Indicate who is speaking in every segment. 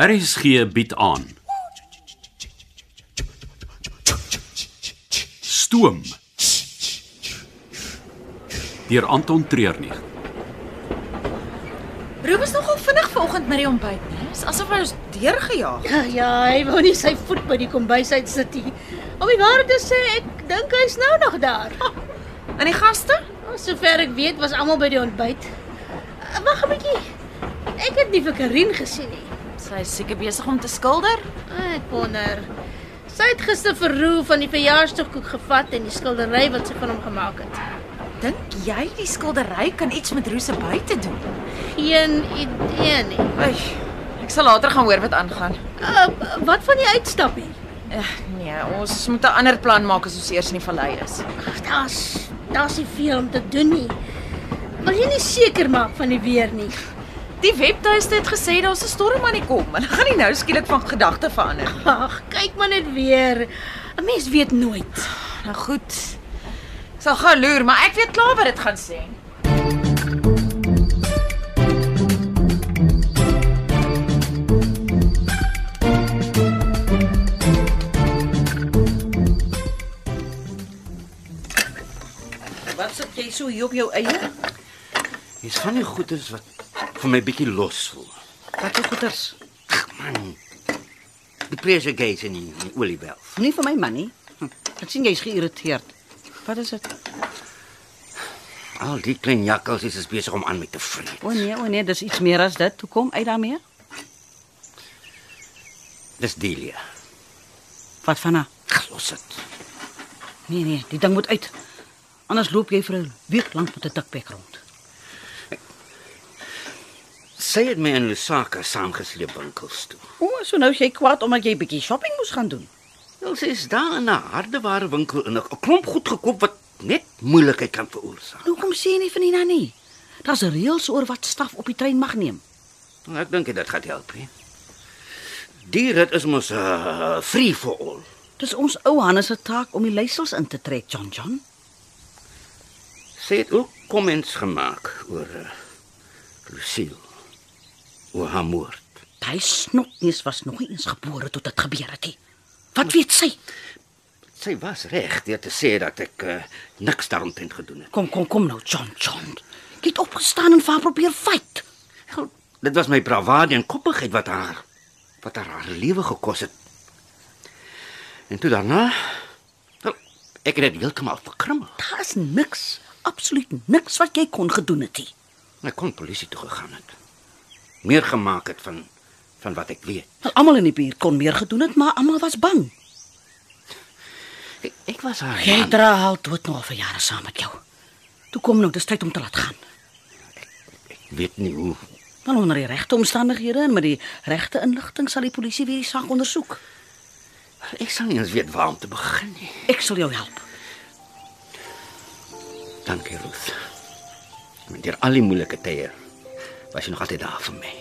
Speaker 1: RSG bied aan. Stoom. Deur Anton Treurnig.
Speaker 2: Rubens nogal vinnig vanoggend met die ontbyt, né? Is asof hy ons deurgejaag.
Speaker 3: Ja, ja, hy wou nie sy voet by die kombuis uit sit nie. Om die waarheid te sê, ek dink hy's nou nog daar.
Speaker 2: En die gaste?
Speaker 3: Nou, Sover ek weet, was almal by die ontbyt. Eh, Wag 'n bietjie. Ek het nie vir Karin gesien nie.
Speaker 2: Sy is seker besig om te skilder.
Speaker 3: Ah, Ek wonder. Sy het gister vir Roo van die verjaarsdagkoek gevat en die skildery wat sy van hom gemaak het.
Speaker 2: Dink jy die skildery kan iets met Roose by te doen?
Speaker 3: Geen idee nie.
Speaker 2: Ai, ek sal later gaan hoor wat aangaan.
Speaker 3: Uh, wat van die uitstappie?
Speaker 2: Ag nee, ons moet 'n ander plan maak as ons eers in die vallei is.
Speaker 3: Daar's daar's nie veel om te doen nie. Wil jy nie seker maak van die weer nie?
Speaker 2: Die webtuiste het gesê daar's 'n storm aan die kom. Hulle gaan nie nou skielik van gedagte verander.
Speaker 3: Ag, kyk maar net weer. 'n Mens weet nooit.
Speaker 2: Nou goed. Ek sal gaan loer, maar ek weet klaar wat dit gaan sê.
Speaker 4: Wat sit jy so hier op jou eie?
Speaker 1: Dis van die goeders wat vir my bietjie los voel.
Speaker 4: Wat jou goeters?
Speaker 1: Ag man. Die presergate in die oliebelf.
Speaker 4: Nie vir my man nie. Hm, Ek sien jy's geïrriteerd. Wat is dit?
Speaker 1: Al die klein jakkals is besig om aan my te vreet.
Speaker 4: O nee, o nee, dis iets meer as dit. Hoe kom uit daarmee?
Speaker 1: Dis Delia.
Speaker 4: Wat van haar?
Speaker 1: Ag, Los dit.
Speaker 4: Nee nee, die ding moet uit. Anders loop jy vir 'n week lank met 'n dikbek rond.
Speaker 1: Sy het my in Lusaka saamgesleep winkels toe.
Speaker 4: O, so nou is jy kwaad omdat jy bietjie shopping moes gaan doen.
Speaker 1: Wel, Nou, sy is daar in 'n hardeware winkel in 'n klomp goed gekoop wat net moeilikheid kan veroorsaak.
Speaker 4: Nou kom sê jy nie van Nina nie. Daar's reëls oor wat staf op die trein mag neem.
Speaker 1: Nou, Ek dink nie dit gaan help nie. Die rit is mos uh, free for all.
Speaker 4: Dis ons ou Hannes se taak om die leiersels in te trek, John John.
Speaker 1: Sy het ook comments gemaak oor uh, Lucille oor haar moord.
Speaker 4: Hy snotneus was nog nie eens gebore tot dit gebeur het nie. Wat weet sy?
Speaker 1: Sy was reg deur te sê dat ek uh, niks daaromtrent gedoen het.
Speaker 4: Kom kom kom nou, John John. Jy het opgestaan en vir haar probeer fight.
Speaker 1: Wel, Dit was my bravade en koppigheid wat haar wat haar haar lewe gekos het. En toe daarna wel, ek het dit heeltemal verkrummel.
Speaker 4: Daar is niks, absoluut niks wat jy kon gedoen het nie.
Speaker 1: Ek kon polisie toe gegaan het. Meer gemaak het van van wat ek weet.
Speaker 4: Want almal in die buurt kon meer gedoen het, maar almal was bang.
Speaker 1: Ek, ek was haar
Speaker 4: Jy
Speaker 1: man.
Speaker 4: dra al dood nog vir jare saam met jou. Toe kom nou, dis tyd om te laat gaan.
Speaker 1: Ek weet nie hoe.
Speaker 4: Dan onder die regte omstandighede en met die regte inligting sal die polisie weer die saak ondersoek.
Speaker 1: Ek sal nie eens weet waar om te begin nie.
Speaker 4: Ek sal jou help.
Speaker 1: Dankie, Ruth. Met deur al die moeilike tye was jy nog altyd daar vir my.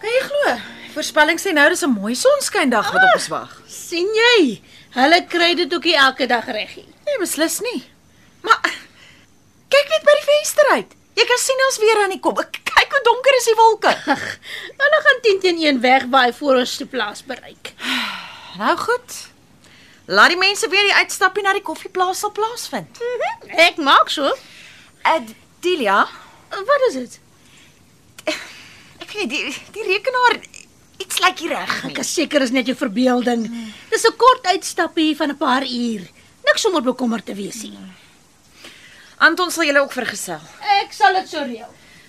Speaker 2: Kan jy glo? Die Voorspelling sê nou dis 'n mooi sonskyndag wat op
Speaker 4: Ah.
Speaker 2: ons wag.
Speaker 3: sien jy? Hulle kry dit ook nie elke dag regie.
Speaker 2: Nee, beslis nie. Maar kyk net by die venster uit. Jy kan sien ons weer aan die kom. Ek- Kyk hoe donker is die wolke.
Speaker 3: Ag, hulle gaan 10 teen 1 wegwaai voor ons te plaas bereik.
Speaker 2: Nou goed. Laat die mense weer die uitstappie na die koffieplaas sal plaasvind.
Speaker 3: Mhm. Ek maak so.
Speaker 2: Ed Eh, Delia,
Speaker 3: Wat is dit?
Speaker 2: ek weet die die rekenaar iets lyk like hier reg.
Speaker 3: Ek is seker is net jou verbeelding. Dis 'n kort uitstappie van 'n paar uur. Niks om oor bekommerd te wees nie.
Speaker 2: Anton sal julle ook vergesel.
Speaker 3: Ek sal dit so reël.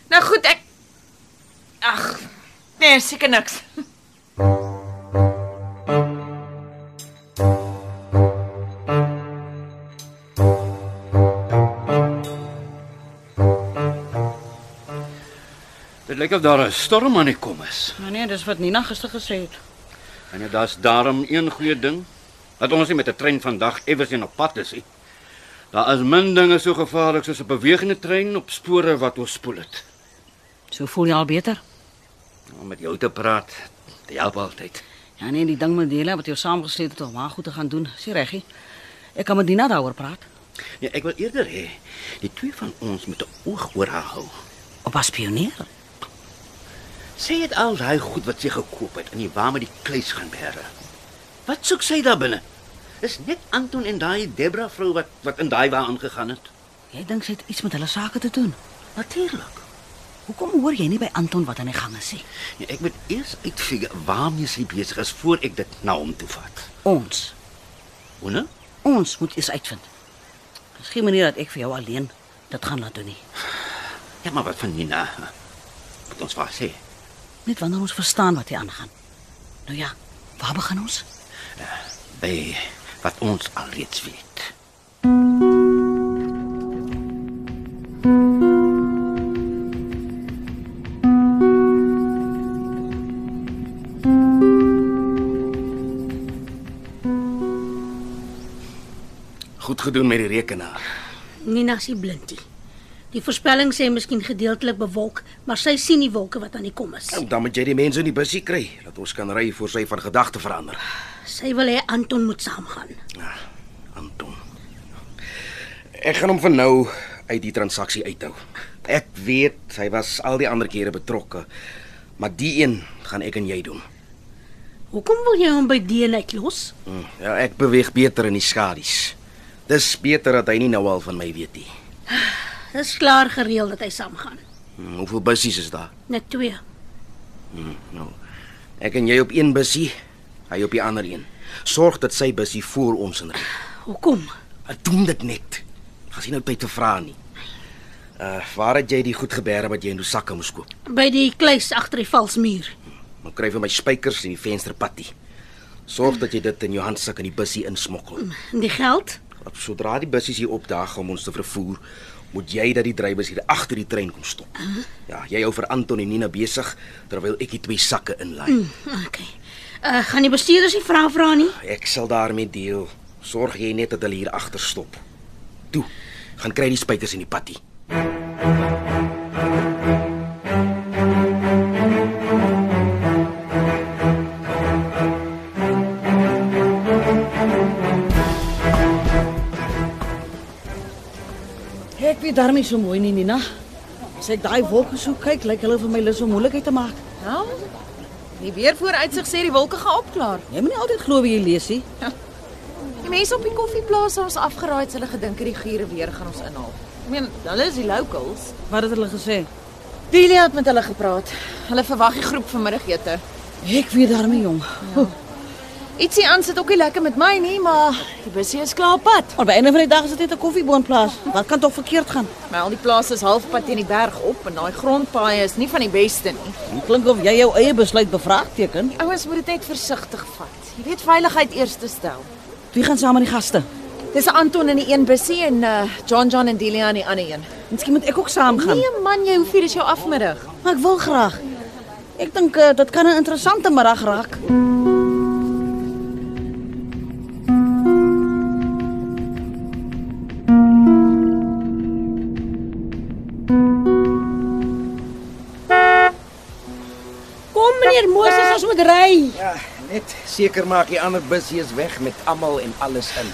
Speaker 2: Nou goed, ek Ag. Nee, seker niks.
Speaker 1: Dit lyk of daar 'n storm aan die kom is.
Speaker 4: Nou nee, dis wat Nina gister gesê het.
Speaker 1: En ja, daar's daarom een goeie ding dat ons nie met 'n trein vandag ewers op pad is nie. Daar is min dinge so gevaarlik soos 'n bewegende trein op spore wat oorspoel het. Nou,
Speaker 4: So voel jy al beter?
Speaker 1: Om met jou te praat, dit help altyd.
Speaker 4: Ja nee, die ding met Dela wat jou saamgesleep het om haar goed te gaan doen. Sê reggie. Ek kan met Dina daaroor praat.
Speaker 5: Ja, ek wil eerder hê die twee van ons moet 'n oog oor haar hou.
Speaker 4: Op haar spioneer.
Speaker 5: Sy het al daai goed wat sy gekoop het in die wa met die kluis gaan bære. Wat soek sy daar binne? Dis net Anton en daai Debra vrou wat wat in daai wa aangegaan het.
Speaker 4: Jy dink sy het iets met hulle sake te doen.
Speaker 5: Natuurlik.
Speaker 4: Hoekom hoor jy nie by Anton wat aan die gang is nie?
Speaker 5: Ja, ek moet eers uitfigure waarmee sy besig is voor ek dit na hom toe vat.
Speaker 4: Ons.
Speaker 5: Hoe nou?
Speaker 4: Ons moet eers uitvind. Daar's geen manier dat ek vir jou alleen dit gaan laat doen nie.
Speaker 5: Ja, maar wat van Nina? Moet ons vas sê.
Speaker 4: Net wanneer ons verstaan wat hier aangaan. Nou ja, waar begin ons?
Speaker 5: By wat ons alreeds weet.
Speaker 1: Goed gedoen met die rekenaar.
Speaker 3: Nina is nie blindie. Die voorspelling sê miskien gedeeltelik bewolk, maar sy sien die wolke wat aan die kom is.
Speaker 1: Nou, dan moet jy die mense in die busie kry dat ons kan ry voor sy van gedagte verander.
Speaker 3: Sy wil hê Anton moet saamgaan.
Speaker 1: Ja, Anton. Ek gaan hom vir nou uit die transaksie uithou. Ek weet hy was al die ander kere betrokke, maar die een gaan ek en jy doen.
Speaker 3: Hoekom wil jy hom by Deen uitlos?
Speaker 1: Hm, Ja, ek beweeg beter in die skadu's. Dis beter dat hy nie nou al van my weet nie.
Speaker 3: Dis klaar gereël dat hy saamgaan.
Speaker 1: Hm, Hoeveel bussies is daar?
Speaker 3: Net twee.
Speaker 1: Hm, Nou, ek en jy op een bussie, hy op die ander een. Sorg dat sy bussie voor ons inry.
Speaker 3: Hoekom?
Speaker 1: Wat doen dit net? As jy nou tyd te vra nie. Uh, waar het jy die goed gebeere wat jy in jou sakke moes koop?
Speaker 3: By die kluis agter die valsmuur.
Speaker 1: Nou kry vir my spykers en die vensterpatty. Sorg dat jy dit in jou handsak in die bussie insmokkel.
Speaker 3: En die geld?
Speaker 1: Want Sodra die bussies hier opdaag om ons te vervoer, moet jy dat die drywers hier agter die trein kom stop. Ja, jy hou vir Anton en Nina besig terwyl ek die twee sakke inlaai.
Speaker 3: Okay. Uh gaan die bestuurders nie vra vra nie?
Speaker 1: Ek sal daarmee deel. Sorg jy net dat hulle hier agter stop. Toe, gaan kry die spykers en die patty.
Speaker 4: Ek weet daarmee so mooi nie, Nina. As ek daai wolke so kyk, lyk hulle vir my lus om moeilikheid te maak.
Speaker 2: Nou. Die weervooruitsig sê die wolke gaan opklaar.
Speaker 4: Jy moenie altyd glo wat jy lees nie.
Speaker 2: Die mense op die koffieplaas het ons afgeraai het hulle gedink hierdie giere weer gaan ons inhaal. Ek meen, hulle is die locals.
Speaker 4: Wat het hulle gesê?
Speaker 2: Delia het met hulle gepraat. Hulle verwag die groep vanmiddagete.
Speaker 4: Ek weet daarmee, jong. Ja.
Speaker 2: Ietsie aan sit ook nie lekker met my nie, maar die busie is klaar op pad.
Speaker 4: Maar by einde van die dag is dit net 'n koffieboonplaas. Wat kan tog verkeerd gaan?
Speaker 2: Maar al die plase is halfpad teen die berg op en daai grondpaaie is nie van die beste nie.
Speaker 4: Dit klink of jy jou eie besluit bevraagteken.
Speaker 2: Die ouens moet dit net versigtig vat. Jy weet veiligheid eers te stel.
Speaker 4: Wie gaan saam met die gaste?
Speaker 2: Dis Anton in die een busie en uh, John John en Delia in die ander een.
Speaker 4: Miskien moet ek ook saam gaan.
Speaker 2: Nee man, jy hoef hier dis jou afmiddag.
Speaker 4: maar ek wil graag. Ek dink eh, dit kan 'n interessante middag raak.
Speaker 3: Kom eh, meneer Moses, ons moet ry.
Speaker 1: Ja, net seker maak die ander bussie is weg met almal en alles in.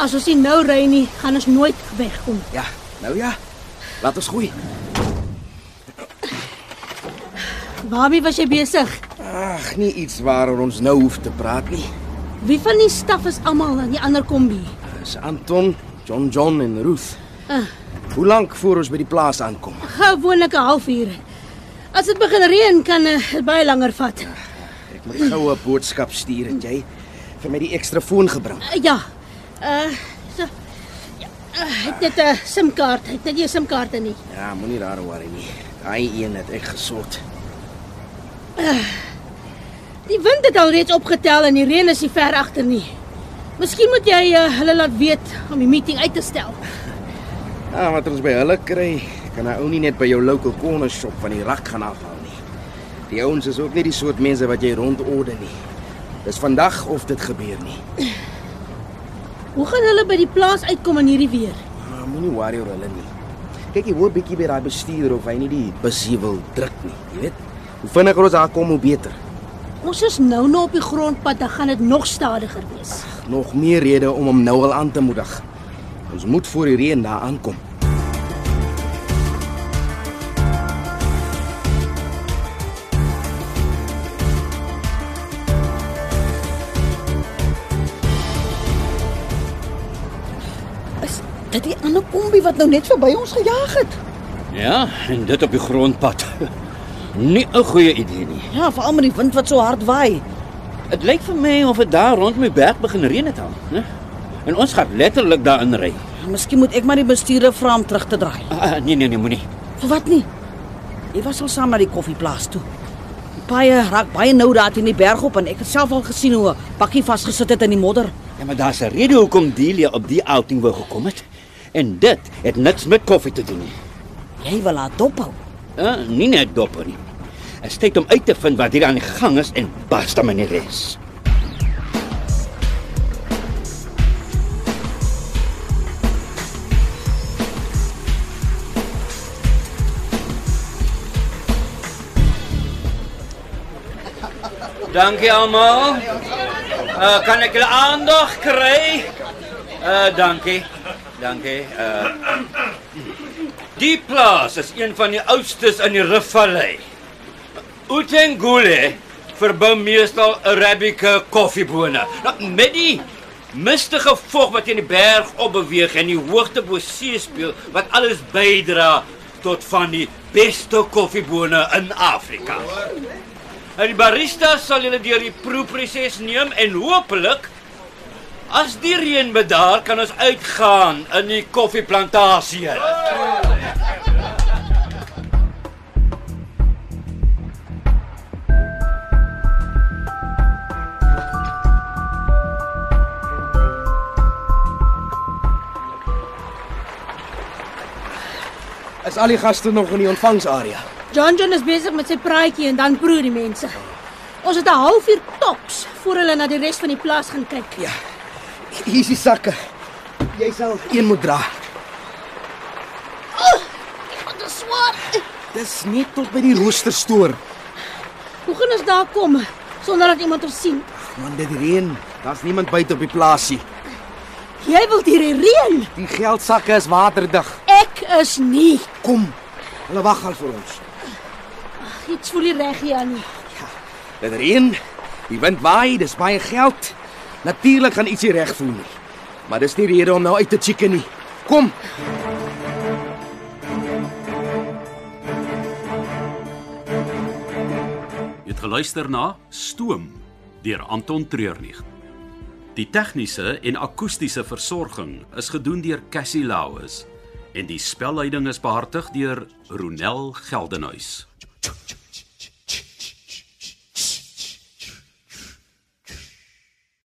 Speaker 3: As ons nie nou ry nie, gaan ons nooit wegkom.
Speaker 1: Ja, nou ja. Laat ons groei.
Speaker 3: Waarmee was jy besig?
Speaker 1: Ag, nie iets waaroor ons nou hoef te praat nie.
Speaker 3: Wie van die staf is almal in die ander kombi?
Speaker 1: Dis Anton, John John en Ruth.
Speaker 3: Ah.
Speaker 1: Hoe lank voor ons by die plaas aankom?
Speaker 3: Gewoonlik 'n halfuur. As dit begin reën kan eh, dit baie langer vat. Eh,
Speaker 1: Ek moet goue boodskap stuur en jy vir my die ekstra foon gebring.
Speaker 3: Eh, Ja. Uh so ja, eh, het net 'n SIM-kaart. Het net nie 'n SIM-kaart in nie.
Speaker 1: Ja, moenie daar worry nie. Daai een het ek gesort.
Speaker 3: Die wind het al reeds opgetel en die reën is nie ver agter nie. Miskien moet jy eh, hulle laat weet om die meeting uit te stel.
Speaker 1: Ja, wat ons by hulle kry, kan 'n ou nie net by jou local corner shop van die rak gaan afhaal nie. Die ouens is ook nie die soort mense wat jy rondorde nie. Dis vandag of dit gebeur nie.
Speaker 3: Hoe gaan hulle by die plaas uitkom in hierdie weer?
Speaker 1: Maar moenie worry oor hulle nie. Kyk, jy hoor bietjie by daai bestuurder of hy nie die busie wil druk nie, jy weet. Hoe vinniger ons daar kom, hoe beter.
Speaker 3: Ons is nou nog op die grondpad, dan gaan dit nog stadiger wees.
Speaker 1: Nog meer rede om hom nou al aan te moedig. Ons moet voor die reën daar aankom.
Speaker 6: Is dit die ander kombi wat nou net verby ons gejaag het?
Speaker 5: Ja, en dit op die grondpad. Nie 'n goeie idee nie.
Speaker 6: Ja, veral met die wind wat so hard waai.
Speaker 5: Dit lyk vir my of dit daar rond my berg begin reën het al, né? En ons gaan letterlik daarin ry.
Speaker 6: Miskien moet ek maar die bestuurder vra om terug te draai.
Speaker 5: Ah, nee nee nee, moenie.
Speaker 6: Vir wat nie? Jy was al saam na die koffieplaas toe. Die Paaie raak baie nou daar teen die berg op en ek het self al gesien hoe 'n bakkie vasgesit het in die modder.
Speaker 5: Ja, maar daar's 'n rede hoekom Delia op die outing wou gekom het. En dit het niks met koffie te doen nie.
Speaker 6: Jy wil haar dophou.
Speaker 5: Ja, nie net dopper nie. Dit is tyd om uit te vind wat hier aan die gang is en basta met die res. Dankie almal. Uh, kan ek julle aandag kry? Uh, dankie. Dankie. Uh, Die plaas is een van die oudstes in die Rifvallei. Utengule verbou meestal Arabica koffiebone. Nou, met die mistige vog wat teen die berg opbeweeg en die hoogte bo see speel wat alles bydra tot van die beste koffiebone in Afrika. En die barista sal julle deur die proeproses neem en hopelik as die reën bedaar kan ons uitgaan in die koffieplantasie. Julle.
Speaker 1: Is al die gaste nog in die ontvangsarea?
Speaker 3: John John is besig met sy praatjie en dan proe die mense. Ons het 'n halfuur tops voor hulle na die res van die plaas gaan kyk.
Speaker 1: Ja. Hier is die sakke. Jy sal een moet dra.
Speaker 3: Wat 'n swaar.
Speaker 1: Dis net tot by die roosterstoor.
Speaker 3: Hoe gaan ons daar kom sonder dat iemand ons sien?
Speaker 1: Man, dit reën. Daar's niemand buite op die plaasie.
Speaker 3: Jy wil hier reën.
Speaker 1: Die geldsakke is waterdig.
Speaker 3: Ek is nie.
Speaker 1: Kom. Hulle wag al vir ons. Ja,
Speaker 3: Iets voel nie reg hier aan nie.
Speaker 1: Dit reën. Die wind waai, dis baie geld. Natuurlik gaan ietsie reg voel nie. Maar dis nie rede om nou uit te chicken nie. Kom.
Speaker 7: Jy het geluister na Stoom deur Anton Treurnig. Die tegniese en akoestiese versorging is gedoen deur Cassie Lauis en die spelleiding is behartig deur Ronel Geldenhuys.